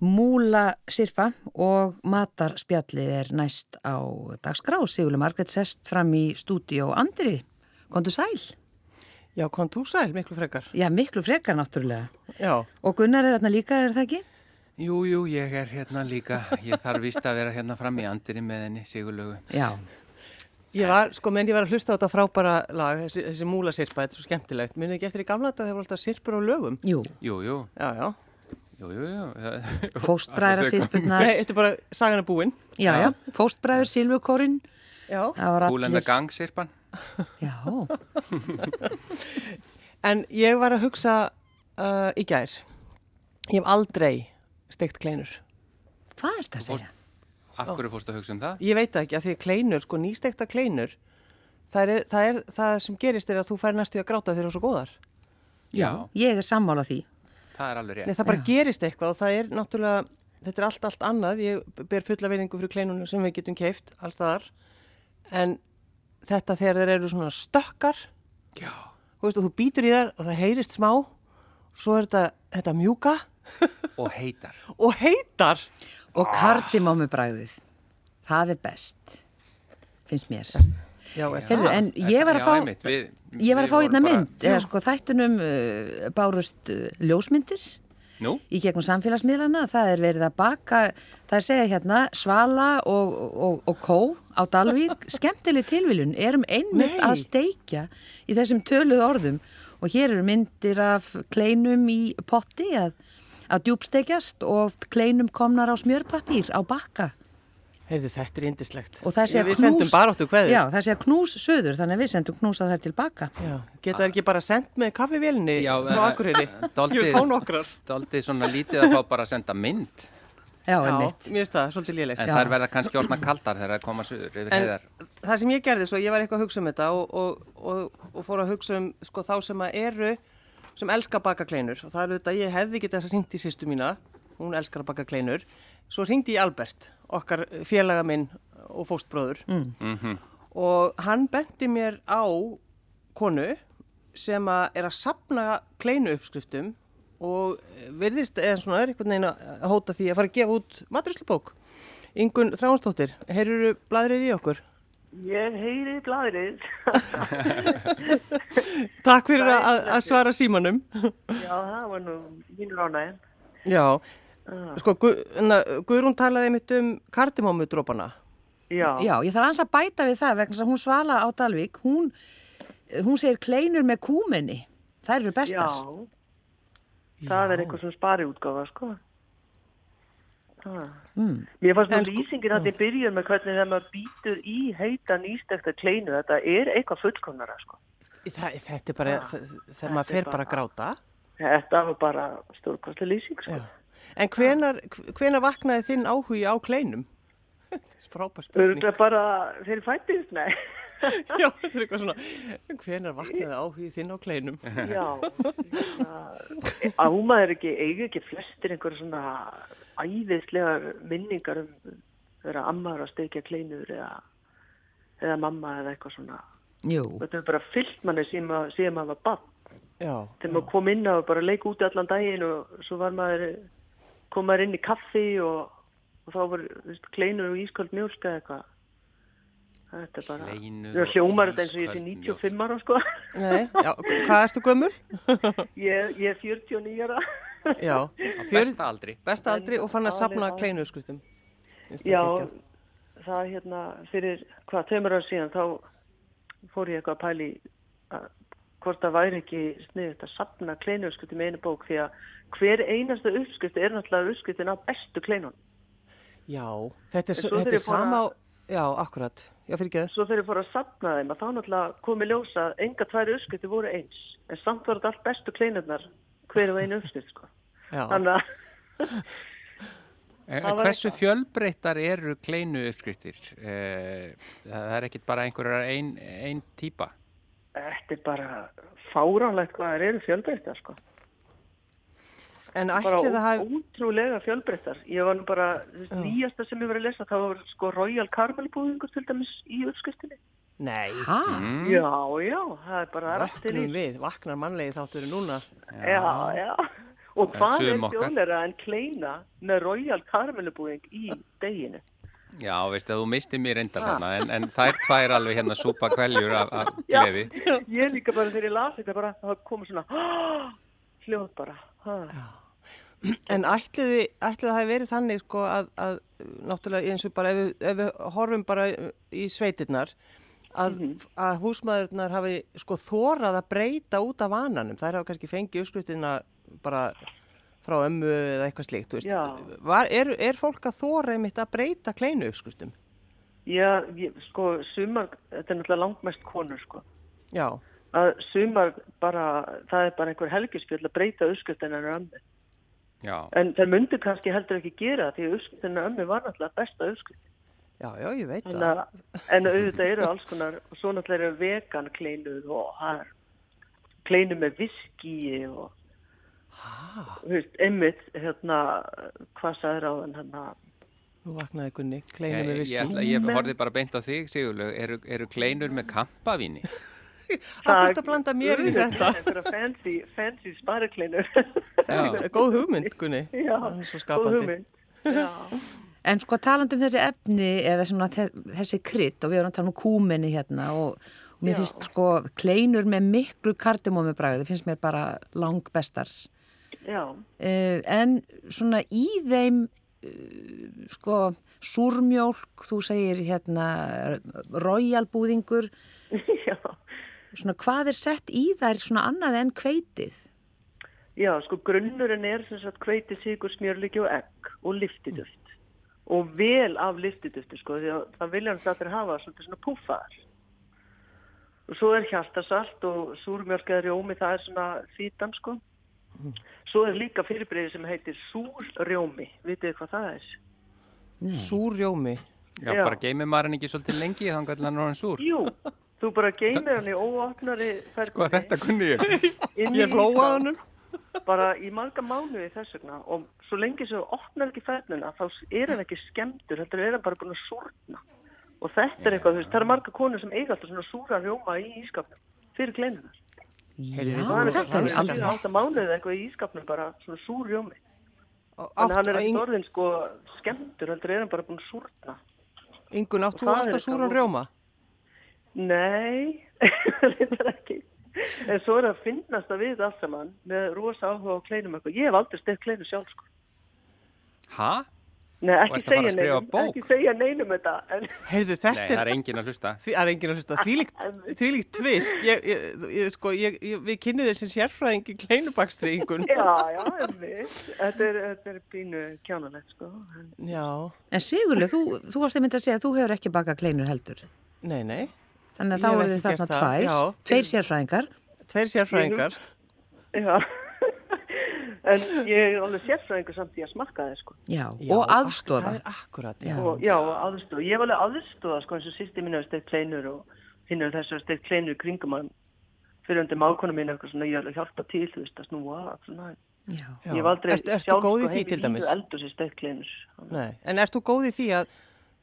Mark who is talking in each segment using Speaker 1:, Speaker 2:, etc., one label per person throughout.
Speaker 1: Múla Sirpa og Matarspjallið er næst á dagskrá. Sigurlega Margret sest fram í stúdíu og andri. Kondur Sæl?
Speaker 2: Já, kontur Sæl, miklu frekar.
Speaker 1: Já, miklu frekar náttúrulega.
Speaker 2: Já.
Speaker 1: Og Gunnar er hérna líka, er það ekki?
Speaker 3: Jú, jú, ég er hérna líka. Ég þarf vist að vera hérna fram í andri með henni, Sigurlegu.
Speaker 1: Já.
Speaker 2: Ég var, sko, menn ég var að hlusta á þetta frábæra lag, þessi, þessi múla sirpa, þetta er svo skemmtilegt. Minni ekki eftir í gamla þetta þegar voru alltaf sirpur á lögum?
Speaker 1: Jú,
Speaker 3: Jú, jú,
Speaker 2: Já, já.
Speaker 3: jú, jú, jú.
Speaker 1: fóstbræðra sirpurnar.
Speaker 2: Nei, þetta er bara sagan að búinn.
Speaker 1: Já, já, fóstbræður, silvukorinn.
Speaker 2: Já.
Speaker 1: Það var
Speaker 3: Húlenda gangsirpan.
Speaker 1: Já,
Speaker 2: En ég var að hugsa uh, í gær. Ég hef aldrei steikt kleinur.
Speaker 1: hvað er það að segja?
Speaker 3: Af hverju fórstu að hugsa um það?
Speaker 2: Ég veit það ekki að því að kleinur, sko, nýstekta kleinur, það er, það er það sem gerist er að þú fær næstu í að gráta þegar þú eru svo góðar.
Speaker 3: Já,
Speaker 1: Ég er sammála því.
Speaker 3: það er alveg
Speaker 2: Nei,
Speaker 3: rétt.
Speaker 2: það bara gerist eitthvað og það er náttúrulega, þetta er allt, allt annað, ég ber fulla veiningu fyrir kleinunum sem við getum keift allstaðar, en þetta þegar þeir eru svona stökkar,
Speaker 3: Já,
Speaker 2: þú veist, og þú býtur í þær og það heyrist smá, svo er þetta, þetta mjúka
Speaker 3: og heitar.
Speaker 2: og heitar.
Speaker 1: Og kardimámubræðið. Það er best, finnst mér.
Speaker 2: Já, er það?
Speaker 1: Heyrðu, en ég var að fá...
Speaker 3: Já, einmitt, við,
Speaker 1: Ég var að
Speaker 3: við
Speaker 1: fá
Speaker 3: vorum
Speaker 1: hérna
Speaker 3: bara-
Speaker 1: mynd, eða sko þættunum uh, bárust uh, ljósmyndir
Speaker 3: Nú,
Speaker 1: í gegnum samfélagsmiðlana, það er verið að baka, það er segja hérna Svala og, og, og Kó á Dalvík, skemmtileg tilviljun, erum einmitt
Speaker 2: Nei.
Speaker 1: að steikja í þessum töluð orðum og hér eru myndir af kleinum í potti að, að djúbsteikjast og kleinum komnar á smjörpapír á bakka
Speaker 2: Heyrðu, þetta er indislegt.
Speaker 1: og það segja
Speaker 2: Við sendum baróttu kveður.
Speaker 1: Já, það segja knús söður, þannig að við sendum knús að þær til bakka.
Speaker 2: Já, geta það ekki bara sendt með kaffivélni
Speaker 3: já, eh,
Speaker 2: frá Akureyri?
Speaker 3: dálítið-
Speaker 2: Ég vil fá nokkrar.
Speaker 3: Daldið svona lítið að fá bara að senda mynd.
Speaker 1: Já,
Speaker 2: Já, mér
Speaker 1: einmitt.
Speaker 2: finnst það, svolítið lélegt.
Speaker 3: En
Speaker 1: Já.
Speaker 3: þær verða kannski orðna kaldar þegar það koma söður yfir
Speaker 2: En
Speaker 3: heiðar.
Speaker 2: það sem ég gerði svo, ég var eitthvað að hugsa um þetta og, og, og, og fór að hugsa um sko, þá sem að eru, sem elskar að baka kleinur og það er auðvitað, ég hefði getað hringt í sýstu mína, hún elskar að baka kleinur svo hringdi ég í Albert, okkar félaga minn og fóstbróður og hann benti mér á konu sem að er að sapna kleinu uppskriftum og verðist eða svona er einhvern veginn að hóta því að fara að gefa út matrislubók Ingun Þránsdóttir, heyrjuru bladrið í okkur?
Speaker 4: Ég heyri gladrið.
Speaker 2: Takk fyrir að, að svara símanum.
Speaker 4: Já, það var nú mínur ánægin.
Speaker 2: Já, sko Gu, na, Guðrún talaði mitt um kardimómudrópana.
Speaker 4: Já,
Speaker 1: Já, ég þarf aðeins að bæta við það vegna þess að hún Svala á Dalvík, hún, hún segir kleinur með kúmenni. Það eru
Speaker 4: já.
Speaker 1: bestar.
Speaker 4: Það er eitthvað sem spari útgáfa, sko. Mm. Mér fannst
Speaker 2: En
Speaker 4: nú
Speaker 2: sko-
Speaker 4: lýsingin að þið byrjun með hvernig þegar maður býtur í heita nýstekta kleinu, þetta er eitthvað fullkomnara, sko.
Speaker 2: Það, þetta er bara, þ- þegar maður
Speaker 4: þetta er
Speaker 2: fer bara að gráta.
Speaker 4: Þetta var bara stórkostlega lýsing, sko.
Speaker 2: En hvenar, hvenar vaknaði þinn áhugi á kleinum? Þetta er frábær spurning.
Speaker 4: Örgulega bara þeir fættist, nei.
Speaker 2: Já, þetta er eitthvað svona, hvenar vaknaði áhugi þinn á kleinum?
Speaker 4: já. hérna, Ámaður ekki, eiga ekki flestir einhver svona æðislegar minningar um vera ammar að steikja kleinur eða, eða mamma eða eitthvað svona.
Speaker 1: Jú,
Speaker 4: Þetta er bara fyllt manni sem að, sem að var bann.
Speaker 2: Já,
Speaker 4: Þegar
Speaker 2: Mm.
Speaker 4: maður kom inn á og bara leik úti allan daginn og svo var maður, kom maður inn í kaffi og, og þá var veist, kleinur og ísköld mjölk eða eitthvað. Þetta er bara,
Speaker 3: Kleinur
Speaker 4: það
Speaker 3: og
Speaker 4: hljómar þetta eins og ég sé
Speaker 3: ísköld
Speaker 4: 95 ára sko.
Speaker 2: nei, já, hvað ertu gömul?
Speaker 4: Ég, ég er 49 ára.
Speaker 2: Já,
Speaker 3: Á
Speaker 2: fjör,
Speaker 3: besta aldri.
Speaker 2: besta aldri og fann að sapna kleinu skrutum.
Speaker 4: Já, það hérna fyrir hvað tömur ára síðan þá fór ég eitthvað að pæli hvort það væri ekki sniðið að sapna kleinuurskutti með einu bók því að hver einasta uppskutti er náttúrulega uppskuttin af bestu kleinun.
Speaker 2: Já, þetta er,
Speaker 4: En
Speaker 2: s-
Speaker 4: svo
Speaker 2: þetta
Speaker 4: þegar
Speaker 2: er
Speaker 4: ég fór að-
Speaker 2: sama á, já, akkurat, já, fyrir ekki þess.
Speaker 4: Svo þegar ég fór að sapna þeim að þá náttúrulega komi ljósa að enga tværi uppskutti voru eins en samt voru þetta allt bestu kleinurnar hver og einu uppskutt sko.
Speaker 2: Já,
Speaker 4: Þannig að
Speaker 3: En
Speaker 4: Það var
Speaker 3: Eh, Hversu fjölbreyttar eru kleinu uppskriftir? Eh, Það er ekkit bara einhverjar ein, ein típa.
Speaker 4: þetta er bara fáránlegt hvað það eru fjölbreyttar sko.
Speaker 2: en
Speaker 4: bara
Speaker 2: ætli það hafi,
Speaker 4: ótrúlega fjölbreyttar ég var nú bara, þú veist, nýjasta sem ég var að lesa það var sko Royal Caramel búðingur til dæmis í uppskriftinni
Speaker 2: nei,
Speaker 1: hæ?
Speaker 3: Mm.
Speaker 4: já, já, það er bara það er allt til í.
Speaker 2: vaknum við, vaknar mannlegi þáttur núna.
Speaker 4: já, já Og
Speaker 3: Það er
Speaker 4: hvað er
Speaker 3: sum okkar.
Speaker 4: þjóðleira en kleina með Royal Karamellubúing í deginu?
Speaker 3: Já, veist að þú misti mér enda þarna, en, en þær tvær alveg hérna súpa kvæljur af, af gleði.
Speaker 4: Ég líka bara þegar ég las þetta bara, það komið svona "Ah!" hljóð bara. "Ah."
Speaker 2: En ætliði, ætliði það hafi verið þannig sko að, að náttúrulega eins og bara ef, við- ef við horfum bara í sveitirnar að,
Speaker 4: Mhm.
Speaker 2: að húsmaðurnar hafi sko þórað að breyta út af vananum. Þær hafa kannski fengið uppskriftina bara frá ömmu eða eitthvað slíkt, þú
Speaker 4: Já.
Speaker 2: veist. Var, er, er fólk að þóra einmitt að breyta kleinu uppskriftum?
Speaker 4: Já, ég, sko, sumar, þetta er náttúrulega langmest konur, sko.
Speaker 2: Já,
Speaker 4: Að sumar bara, það er bara einhver helgispjöld að breyta uppskriftina hennar ömmu.
Speaker 3: Já,
Speaker 4: En það myndi kannski heldur ekki gera það því að uppskriftina ömmu var náttúrulega besta uppskrift.
Speaker 2: já, já, ég veit
Speaker 4: En,
Speaker 2: það.
Speaker 4: að, en auðvitað eru alls konar, og svo náttúrulega eru vegan kleinur og það er kleinur með viski og, þú veist, einmitt, hérna, hvað sagður á þenn, hérna,
Speaker 2: Nú vaknaði Gunni, kleinu með
Speaker 3: ég, ég,
Speaker 2: viski.
Speaker 3: ætla, ég horfið bara beint á þig, Sigurlaug, eru, eru kleinur með kampavíni?
Speaker 2: Akkur þetta blanda mér í
Speaker 4: Auðvitað
Speaker 2: þetta.
Speaker 4: eru einhverjar fancy, fancy sparakleinur.
Speaker 3: Já.
Speaker 2: Góð hugmynd, Gunni.
Speaker 4: Já,
Speaker 2: Hann er svo
Speaker 4: góð
Speaker 2: skapandi.
Speaker 4: hugmynd. Já,
Speaker 1: En sko talandi um þessi efni eða svona þe- þessi krydd og við erum að tala um kúmenni hérna og, og mér
Speaker 4: Já.
Speaker 1: finnst sko kleinur með miklu kardimómi bragði finnst mér bara lang bestar.
Speaker 4: já,
Speaker 1: Uh, en svona í þeim uh, sko súrmjólk, þú segir hérna royalbúðingur,
Speaker 4: já.
Speaker 1: svona hvað er sett í þær svona annað en hveitið?
Speaker 4: Já, sko, grunnurinn er sem sagt hveiti, sigur, smjörliki og egg og liftiduft. Og vel af liftidufti, sko, því að það vilja hans allir hafa svolítið svona púfaðar. Og svo er hjartasalt og súrmjölk eða rjómi, það er svona þýtan, sko. Svo er líka fyrirbreiði sem heitir súrrjómi, vitið þið hvað það er?
Speaker 3: Mm.
Speaker 2: Súrjómi.
Speaker 3: Já,
Speaker 4: Já.
Speaker 3: bara geymir maður hann ekki svolítið lengi, þannig að hann er hann súr.
Speaker 4: Jú, þú bara geymir hann í óopnari
Speaker 3: Sko, þetta kunni ég.
Speaker 4: Inni
Speaker 2: Ég
Speaker 4: í
Speaker 2: hlóa
Speaker 4: þá,
Speaker 2: honum.
Speaker 4: bara í marga mánuði þess vegna og svo lengi sem þú opnar ekki fernuna þá er hann ekki skemmtur þetta er hann bara búin að súrna og þetta er eitthvað, þú veist, það eru marga konur sem eiga alltaf svona súra rjóma í ískapnum fyrir kleinunar
Speaker 1: Já,
Speaker 4: það er
Speaker 1: þetta er
Speaker 4: fyrir
Speaker 1: alveg.
Speaker 4: alltaf mánuði eða eitthvað í ískapnum bara svona súr rjómi
Speaker 2: Átt,
Speaker 4: þannig hann er ekki
Speaker 2: Ing-
Speaker 4: orðin sko skemmtur þetta er hann bara búin að súrna
Speaker 2: Ingun, átt
Speaker 4: Og
Speaker 2: þú
Speaker 4: það er
Speaker 2: alltaf
Speaker 4: eitthvað
Speaker 2: súran
Speaker 4: voða.
Speaker 2: rjóma?
Speaker 4: Nei, þetta er ekki. En svo er að finnast að við allt saman með rosa áhuga á kleinum eitthvað. Ég hef aldrei stefð kleinu sjálf sko.
Speaker 3: Hæ?
Speaker 4: Nei,
Speaker 3: Og
Speaker 4: ekki
Speaker 3: ertu að fara
Speaker 4: segja
Speaker 3: að skrifa
Speaker 4: neinum,
Speaker 3: bók?
Speaker 4: ekki segja neinum þetta, en
Speaker 2: Heyrðu,
Speaker 3: Nei,
Speaker 2: þetta
Speaker 3: það
Speaker 2: er,
Speaker 3: er enginn að hlusta.
Speaker 2: því, það er enginn að hlusta. Því líkt tvist. Ég, ég, ég, sko, ég, ég, við kynnið þér sem sérfræðing í kleinubakstri, Ingun.
Speaker 4: já, já, einmitt. Þetta er, þetta er pínu kjánalegt, sko. En,
Speaker 2: Já,
Speaker 1: En Sigurlega, þú, þú varst einmitt að segja að þú hefur ekki bakað kleinur heldur.
Speaker 2: nei, nei.
Speaker 1: Þannig
Speaker 2: Ég
Speaker 1: að
Speaker 2: hef
Speaker 1: þá eru
Speaker 2: ekki
Speaker 1: þið þarna
Speaker 2: gert það,
Speaker 1: tvær,
Speaker 2: já.
Speaker 1: tveir sérfræðingar.
Speaker 2: Tveir sérfræðingar.
Speaker 4: Já, en ég er alveg sérfræðingur samt í að smakka það, sko.
Speaker 1: Já,
Speaker 2: Já,
Speaker 1: og
Speaker 2: ak-
Speaker 1: aðstofa.
Speaker 2: Það er akkurat, já.
Speaker 4: Og, já, og aðstofa. Ég hef alveg aðstofa, sko, eins og sýsti mín hefur steikt kleinur og hinn hefur þessu steikt kleinur í kringum hann fyrir undir mákona mín eitthvað svona, ég er alveg að hjálpa til, þú veist, að snúa, af, svona.
Speaker 1: Já.
Speaker 2: já.
Speaker 4: Ég hef aldrei
Speaker 2: Ertu, ertu góð í því til
Speaker 4: heim í
Speaker 2: dæmis?
Speaker 4: línu eldur sem steikt kleinur.
Speaker 2: Nei, en ertu góð í því að,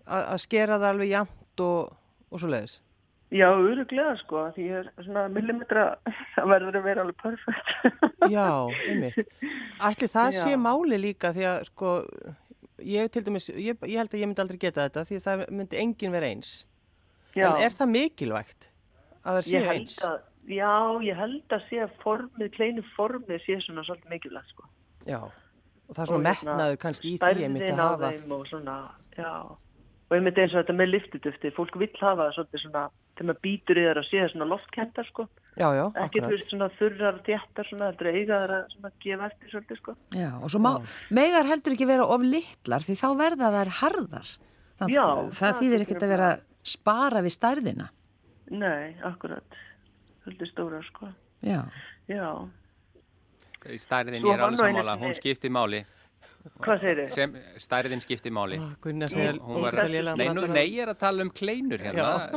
Speaker 2: að, að skera það alveg jant og, og svo leiðis?
Speaker 4: Já, öruglega, sko, því ég er svona millimetra, það verður að vera alveg perfekt.
Speaker 2: Já, einmitt. Ætli það
Speaker 4: Já.
Speaker 2: sé máli líka því að sko, ég til dæmis, ég, ég held að ég myndi aldrei geta þetta því að það myndi enginn vera eins.
Speaker 4: Já.
Speaker 2: En er það mikilvægt að það sé
Speaker 4: Ég held
Speaker 2: eins?
Speaker 4: að, já, ég held að sé að formið, kleinu formið sé svona svolítið mikilvægt, sko. hérna
Speaker 2: Já, og það er svona metnaður kannski í því einmitt að
Speaker 4: Stærðin á
Speaker 2: hafa.
Speaker 4: þeim og svona, já. Og einmitt eins og þetta með liftidufti, fólk vill hafa það svolítið svona, þegar maður býtur í þeirra að sé það svona loftkendar, sko.
Speaker 2: Já, já,
Speaker 4: Ekki þú
Speaker 2: akkurat.
Speaker 4: veist svona þurrar þjættar svona, heldur eiga þeirra svona gefa eftir svolítið, sko.
Speaker 1: Já, og svo má, megar heldur ekki vera of litlar því þá verða þær harðar. Það,
Speaker 4: Já,
Speaker 1: það,
Speaker 4: það
Speaker 1: þýðir
Speaker 4: getur
Speaker 1: ekkert að
Speaker 4: verið.
Speaker 1: vera að spara við stærðina.
Speaker 4: Nei, akkurat. Svolítið stóra, sko.
Speaker 1: Já,
Speaker 4: Já.
Speaker 3: Stærðin,
Speaker 4: Svo
Speaker 3: ég er
Speaker 4: var
Speaker 3: alveg
Speaker 4: nú einu
Speaker 3: sammála, hún
Speaker 4: sinni-
Speaker 3: skipti máli.
Speaker 4: Hvað segir þið?
Speaker 3: Sem, stærðin skipti máli.
Speaker 2: Ó, Gunnar
Speaker 3: Hún-
Speaker 2: segir
Speaker 3: hún var,
Speaker 2: ógeðslega lélegan
Speaker 3: nei, nú,
Speaker 2: brandara.
Speaker 3: nei, ég er að tala um kleinur hérna.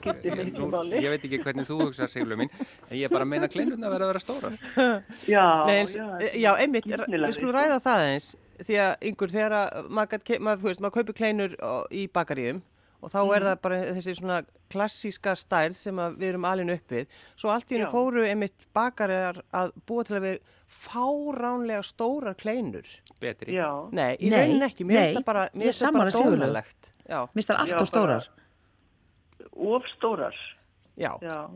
Speaker 4: Skiptir
Speaker 3: Ég,
Speaker 4: miklu
Speaker 3: nú,
Speaker 4: máli.
Speaker 3: ég veit ekki hvernig þú hugsar, Sigurlaug mín, en ég er bara að meina kleinurna verða að vera stórar.
Speaker 4: Já,
Speaker 2: Nei, eins,
Speaker 4: já,
Speaker 2: já, einmitt, ra-
Speaker 4: skiptilega
Speaker 2: við skulum
Speaker 4: við, sko.
Speaker 2: ræða það eins því að yngur þegar að maður, gat ke- maður, þú veist, maður kaupir kleinur á- í bakaríum og þá
Speaker 4: Mhm.
Speaker 2: er það bara þessi svona klassíska stærð sem að við erum alin uppið svo allt í hennu
Speaker 4: Já.
Speaker 2: fóru einmitt bakarjar að búa til að við fáránlega stórar kleinur.
Speaker 3: betri.
Speaker 4: já,
Speaker 2: Nei, í
Speaker 1: Nei,
Speaker 2: rauninni ekki. Mér
Speaker 1: nei,
Speaker 2: finnst það bara,
Speaker 1: ég
Speaker 2: mér finnst það bara
Speaker 1: sammála Sigurlaugu.
Speaker 2: dónalegt. Já,
Speaker 1: Mér finnst það
Speaker 4: Já,
Speaker 1: allt og
Speaker 4: bara-
Speaker 1: stórar.
Speaker 4: ofstórar,
Speaker 2: já,
Speaker 4: já.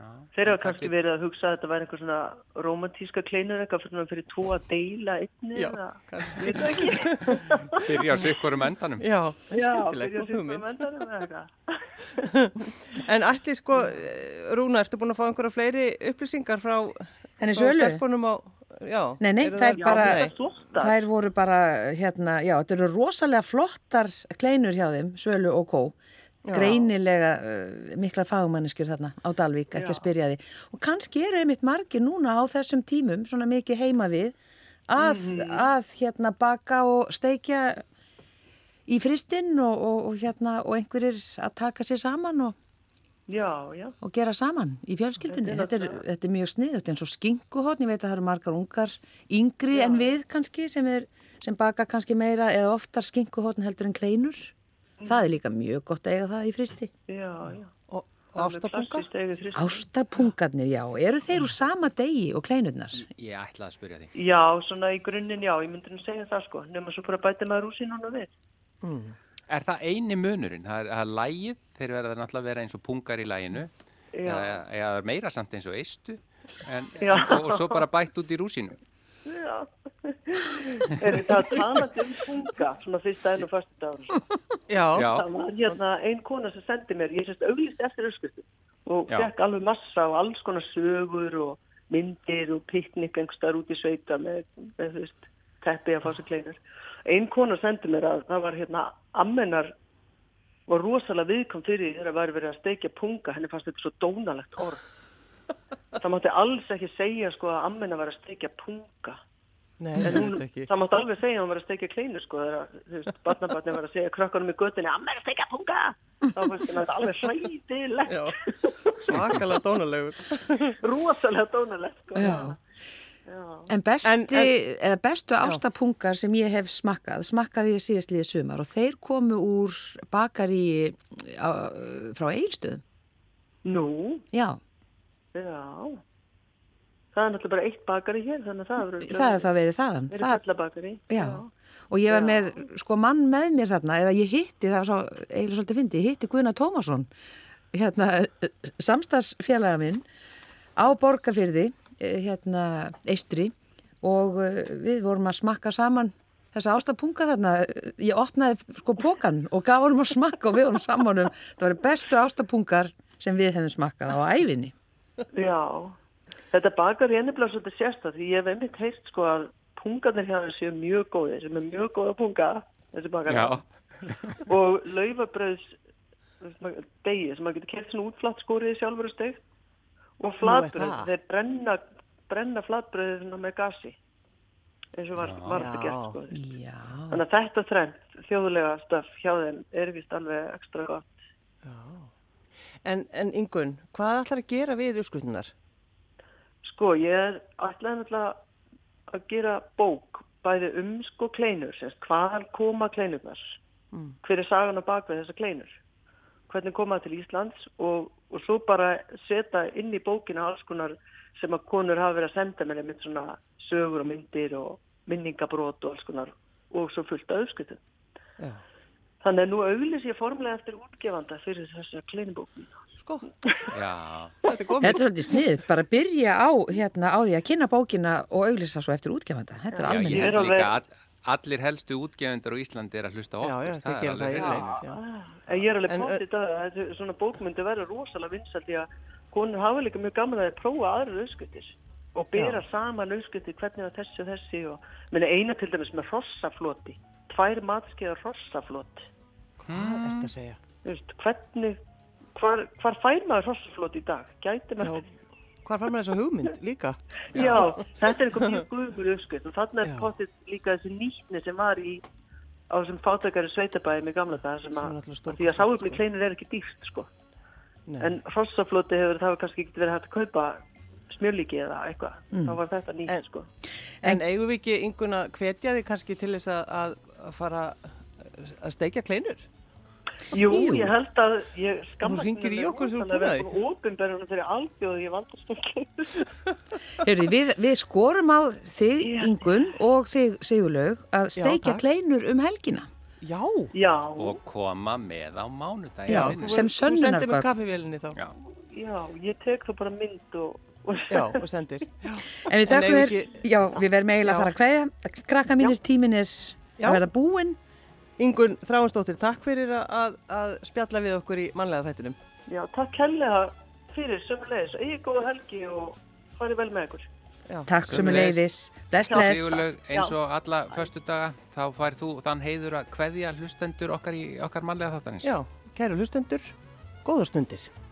Speaker 3: Já.
Speaker 4: Þeir hafa
Speaker 3: Það
Speaker 4: kannski
Speaker 3: get-
Speaker 4: verið að hugsa að þetta væri einhver svona romantíska kleinur eitthvað fyrir, fyrir tvo að deila einni
Speaker 2: Já,
Speaker 4: eða
Speaker 2: kannski.
Speaker 4: Ég veit það ekki.
Speaker 3: Byrja á sikkurum endanum.
Speaker 2: já,
Speaker 4: Já,
Speaker 2: skemmtilegt
Speaker 4: byrja
Speaker 2: og
Speaker 4: að sitja á
Speaker 2: hugmynd.
Speaker 4: endanum eða eitthvað.
Speaker 2: En ætli sko, eh, Rúna, ertu búin að fá einhverja fleiri upplýsingar frá, frá
Speaker 1: Þannig sölu?
Speaker 2: stelpunum á, já.
Speaker 1: Nei, nei,
Speaker 2: eru
Speaker 1: það er
Speaker 4: Já,
Speaker 1: bara,
Speaker 4: þessar flottar.
Speaker 1: þær voru bara, hérna, já, þetta eru rosalega flottar kleinur hjá þeim, Sölu og Kó. Greinilega uh, mikla fagmanniskjur þarna á Dalvík, ekki að
Speaker 4: Já.
Speaker 1: spyrja því. Og kannski eru einmitt margir núna á þessum tímum, svona mikið heima við, að, að hérna baka og steikja í fristinn og, og, og hérna, og einhverjir að taka sér saman og,
Speaker 4: Já, já.
Speaker 1: og gera saman í fjölskyldunni. Þetta er, þetta er mjög sniðut eins og skinguhotn, ég veit að það eru margar ungar yngri en við kannski sem, er, sem baka kannski meira eða oftar skinguhotn heldur en kleinur. Það er líka mjög gott að eiga það í fristi.
Speaker 4: Já, já.
Speaker 2: Og, og ástapunga?
Speaker 4: Ástapunga?
Speaker 1: Ástarpungarnir, já, eru þeir úr sama degi og kleinurnar?
Speaker 3: Ég ætlaði að spyrja því.
Speaker 4: Já, svona í grunninn, já, ég myndi nú segja það sko, nema svo bara bæta maður úr sín honum við.
Speaker 3: Er það eini munurinn? Það er, það er lægið, þeir verða náttúrulega að vera eins og pungar í læginu.
Speaker 4: Já.
Speaker 3: Eða, eða það er meira samt eins og eistu. En,
Speaker 4: Já.
Speaker 3: og, og svo bara bætt út í rúsinu.
Speaker 4: Já. er þetta talandi um funga, svona fyrsta enn og fyrsta dagur.
Speaker 2: Já,
Speaker 3: Já.
Speaker 4: Það var hérna ein kona sem sendi mér, ég sérst auglist eftir öskutu og
Speaker 3: Já.
Speaker 4: fekk alveg massa og alls konar sögur og myndir og piknik einhverstaðar út í sveita með, með þú veist, teppi að fá sér kleinur. Ein kona sendi mér að það var hérna ammenar var rosalega viðkom fyrir þegar var verið að steikja punga, henni fannst þetta svo dónalegt orð. Það mátti alls ekki segja sko að ammenna var að steikja punga.
Speaker 2: nei,
Speaker 4: En
Speaker 2: þetta
Speaker 4: hún,
Speaker 2: ekki.
Speaker 4: það mátti alveg segja að hún var að steikja kleinur sko, þegar að, þú veist, barnabarnið var að segja krökkunum í göttinni, amma er að steikja punga þá fannst henni að þetta alveg hræðilegt
Speaker 2: Já, svakalega dónalegur.
Speaker 4: rosalega dónalegt sko.
Speaker 1: Já.
Speaker 4: Já.
Speaker 1: En, besti,
Speaker 2: En- en-
Speaker 1: eða bestu ástapungar sem ég hef smakkað, smakkaði ég síðast liðið sumar og þeir komu úr bakari á, frá Eilstöðum.
Speaker 4: Nú,
Speaker 1: Já,
Speaker 4: já það er náttúrulega bara eitt bakari hér þannig að það verður
Speaker 1: það er það verið þaðan.
Speaker 4: verið
Speaker 1: Það-
Speaker 4: kallabakari
Speaker 1: Já. Og ég var
Speaker 4: Já.
Speaker 1: með, sko, mann með mér þarna, eða ég hitti, það var svo, eiginlega svolítið fyndi, ég hitti Guðna Tómasson, hérna, samstagsfélaga minn, á Borgarfyrði, eh, hérna, Eistri, og eh, við vorum að smakka saman þessa ástapunga þarna. Ég opnaði, sko, pokan og gaf honum að smakka og við honum saman um, það var bestu ástapungar sem við hefðum smakkað á ævinni.
Speaker 4: já. þetta bakari er nefnilega svolítið sérstæð því ég hef einmitt heyrt sko að pungarnir hérna séu mjög góðir sem er mjög góða punga þessi bakari
Speaker 3: Já,
Speaker 4: og laufabröðs degi sem maður getur kert svona útflatt skóriði sjálfur og steikt og flatbröð,
Speaker 2: það.
Speaker 4: þeir brenna, brenna flatbröðið svona með gasi eins og var, var þetta gert sko.
Speaker 1: Já.
Speaker 4: þannig að þetta þrengt þjóðlega stöf hjá þeim er vist alveg ekstra gott
Speaker 2: En, en Ingun, hvað ætlar að gera við uppskriftunar?
Speaker 4: sko ég er alltaf náttúrulega að gera bók bæði um sko kleinur sérst, hvaðan koma kleinurnar hver er sagan á bakveg þessa kleinur hvernig koma það til Íslands og, og svo bara setja inn í bókina alls konar sem að konur hafa verið að senda mér með svona sögur og myndir og minningabrót og alls konar og svo fullt af uppskiptum.
Speaker 2: Já.
Speaker 4: Þannig að nú auðlis ég formulega eftir útgefanda fyrir þessa kleinubókina.
Speaker 2: Sko,
Speaker 3: já.
Speaker 2: þetta er komið.
Speaker 1: Þetta er svolítið sniðut, bara byrja á, hérna, á því að kynna bókina og auglýsa svo eftir útgefanda. Þetta er
Speaker 3: Já,
Speaker 1: almennt.
Speaker 3: ég
Speaker 4: Ég er
Speaker 3: held
Speaker 4: alveg-
Speaker 3: líka að allir helstu útgefendur á Íslandi er að hlusta á
Speaker 2: Já,
Speaker 3: okkur.
Speaker 2: já, þeir gera það
Speaker 3: alveg
Speaker 2: yfirleitt,
Speaker 3: hreint.
Speaker 2: já.
Speaker 4: En ég er alveg
Speaker 2: En,
Speaker 4: pátt í dag að þessi- svona bókmyndi verður rosalega vinsalt því að konur hafa líka mjög gaman að prófa aðra auðskutir og bera saman auðskutir hvernig var þessi og þessi og minna eina til dæmis með hrossafloti, tvær matskeiðar hrossaflot.
Speaker 2: Hvað er þetta að segja?
Speaker 4: Þú veist, hvernig, hvar, hvar fær maður hrossaflot í dag? Gæti maður?
Speaker 2: Hvað fær maður þessa hugmynd líka?
Speaker 4: Já, þetta er eitthvað mjög guðmur auðskut og þarna er
Speaker 2: Já.
Speaker 4: páttið líka þessi nýtni sem var í á þessum fátakari sveitabæði með gamla það
Speaker 2: Sem
Speaker 4: sem
Speaker 2: er
Speaker 4: að,
Speaker 2: náttúrulega stórkostlegt,
Speaker 4: því að sáöfni
Speaker 2: sko.
Speaker 4: kleinur er ekki dýrt sko.
Speaker 2: Nei.
Speaker 4: En hrossafloti hefur það hefur kannski ekki verið hægt að kaupa smjörlíki eða eitthvað. Þá var þetta nýtt,
Speaker 2: Mm. En-
Speaker 4: sko.
Speaker 2: En eigum við ekki yngun að hvetja þig kannski til þess að, að fara að steikja kleinur?
Speaker 4: Jú, ég held að ég
Speaker 2: Þú
Speaker 4: skamma
Speaker 2: hringir í okkur þegar þú
Speaker 4: búið
Speaker 2: búnaði.
Speaker 4: Það er ópenbærunum fyrir alþjóð ég valdur stökkleitur.
Speaker 1: Heyrðu, við, við skorum á þig,
Speaker 4: Já.
Speaker 1: Ingun, og þig, Sigurlaug, að
Speaker 2: Já,
Speaker 1: steikja
Speaker 2: takk.
Speaker 1: kleinur um helgina.
Speaker 2: Já.
Speaker 4: Já,
Speaker 3: og koma með á mánudaginn.
Speaker 1: Já,
Speaker 3: vinur.
Speaker 1: þú- Sem
Speaker 2: Þú sendir
Speaker 1: sönnunargögn.
Speaker 2: mig kaffevélinni þá.
Speaker 3: Já.
Speaker 4: já, ég tek þú bara mynd og... og
Speaker 2: Já, og sendir. Já.
Speaker 1: En við
Speaker 2: En
Speaker 1: þakkum
Speaker 2: eigum
Speaker 1: þér,
Speaker 2: ekki-
Speaker 1: já, við verðum eiginlega að fara að kveðja. Krakka mínir tímin er
Speaker 2: Já.
Speaker 1: að verða búinn.
Speaker 2: Ingun Þráinsdóttir, takk fyrir að- að, að spjalla við okkur í mannlega þættinum.
Speaker 4: Já, takk helga fyrir sömulegis. Egið góða helgi og farið vel með ykkur.
Speaker 2: Já.
Speaker 1: Takk sem er
Speaker 3: Sömuleiðis.
Speaker 1: leiðis. Bless,
Speaker 4: Já.
Speaker 1: bless.
Speaker 3: Sigurlaug, eins og alla föstudaga, þá fær þú þann heiður að kveðja hlustendur okkar í okkar mannlega þáttanins.
Speaker 2: Já, kæru hlustendur, góðar stundir.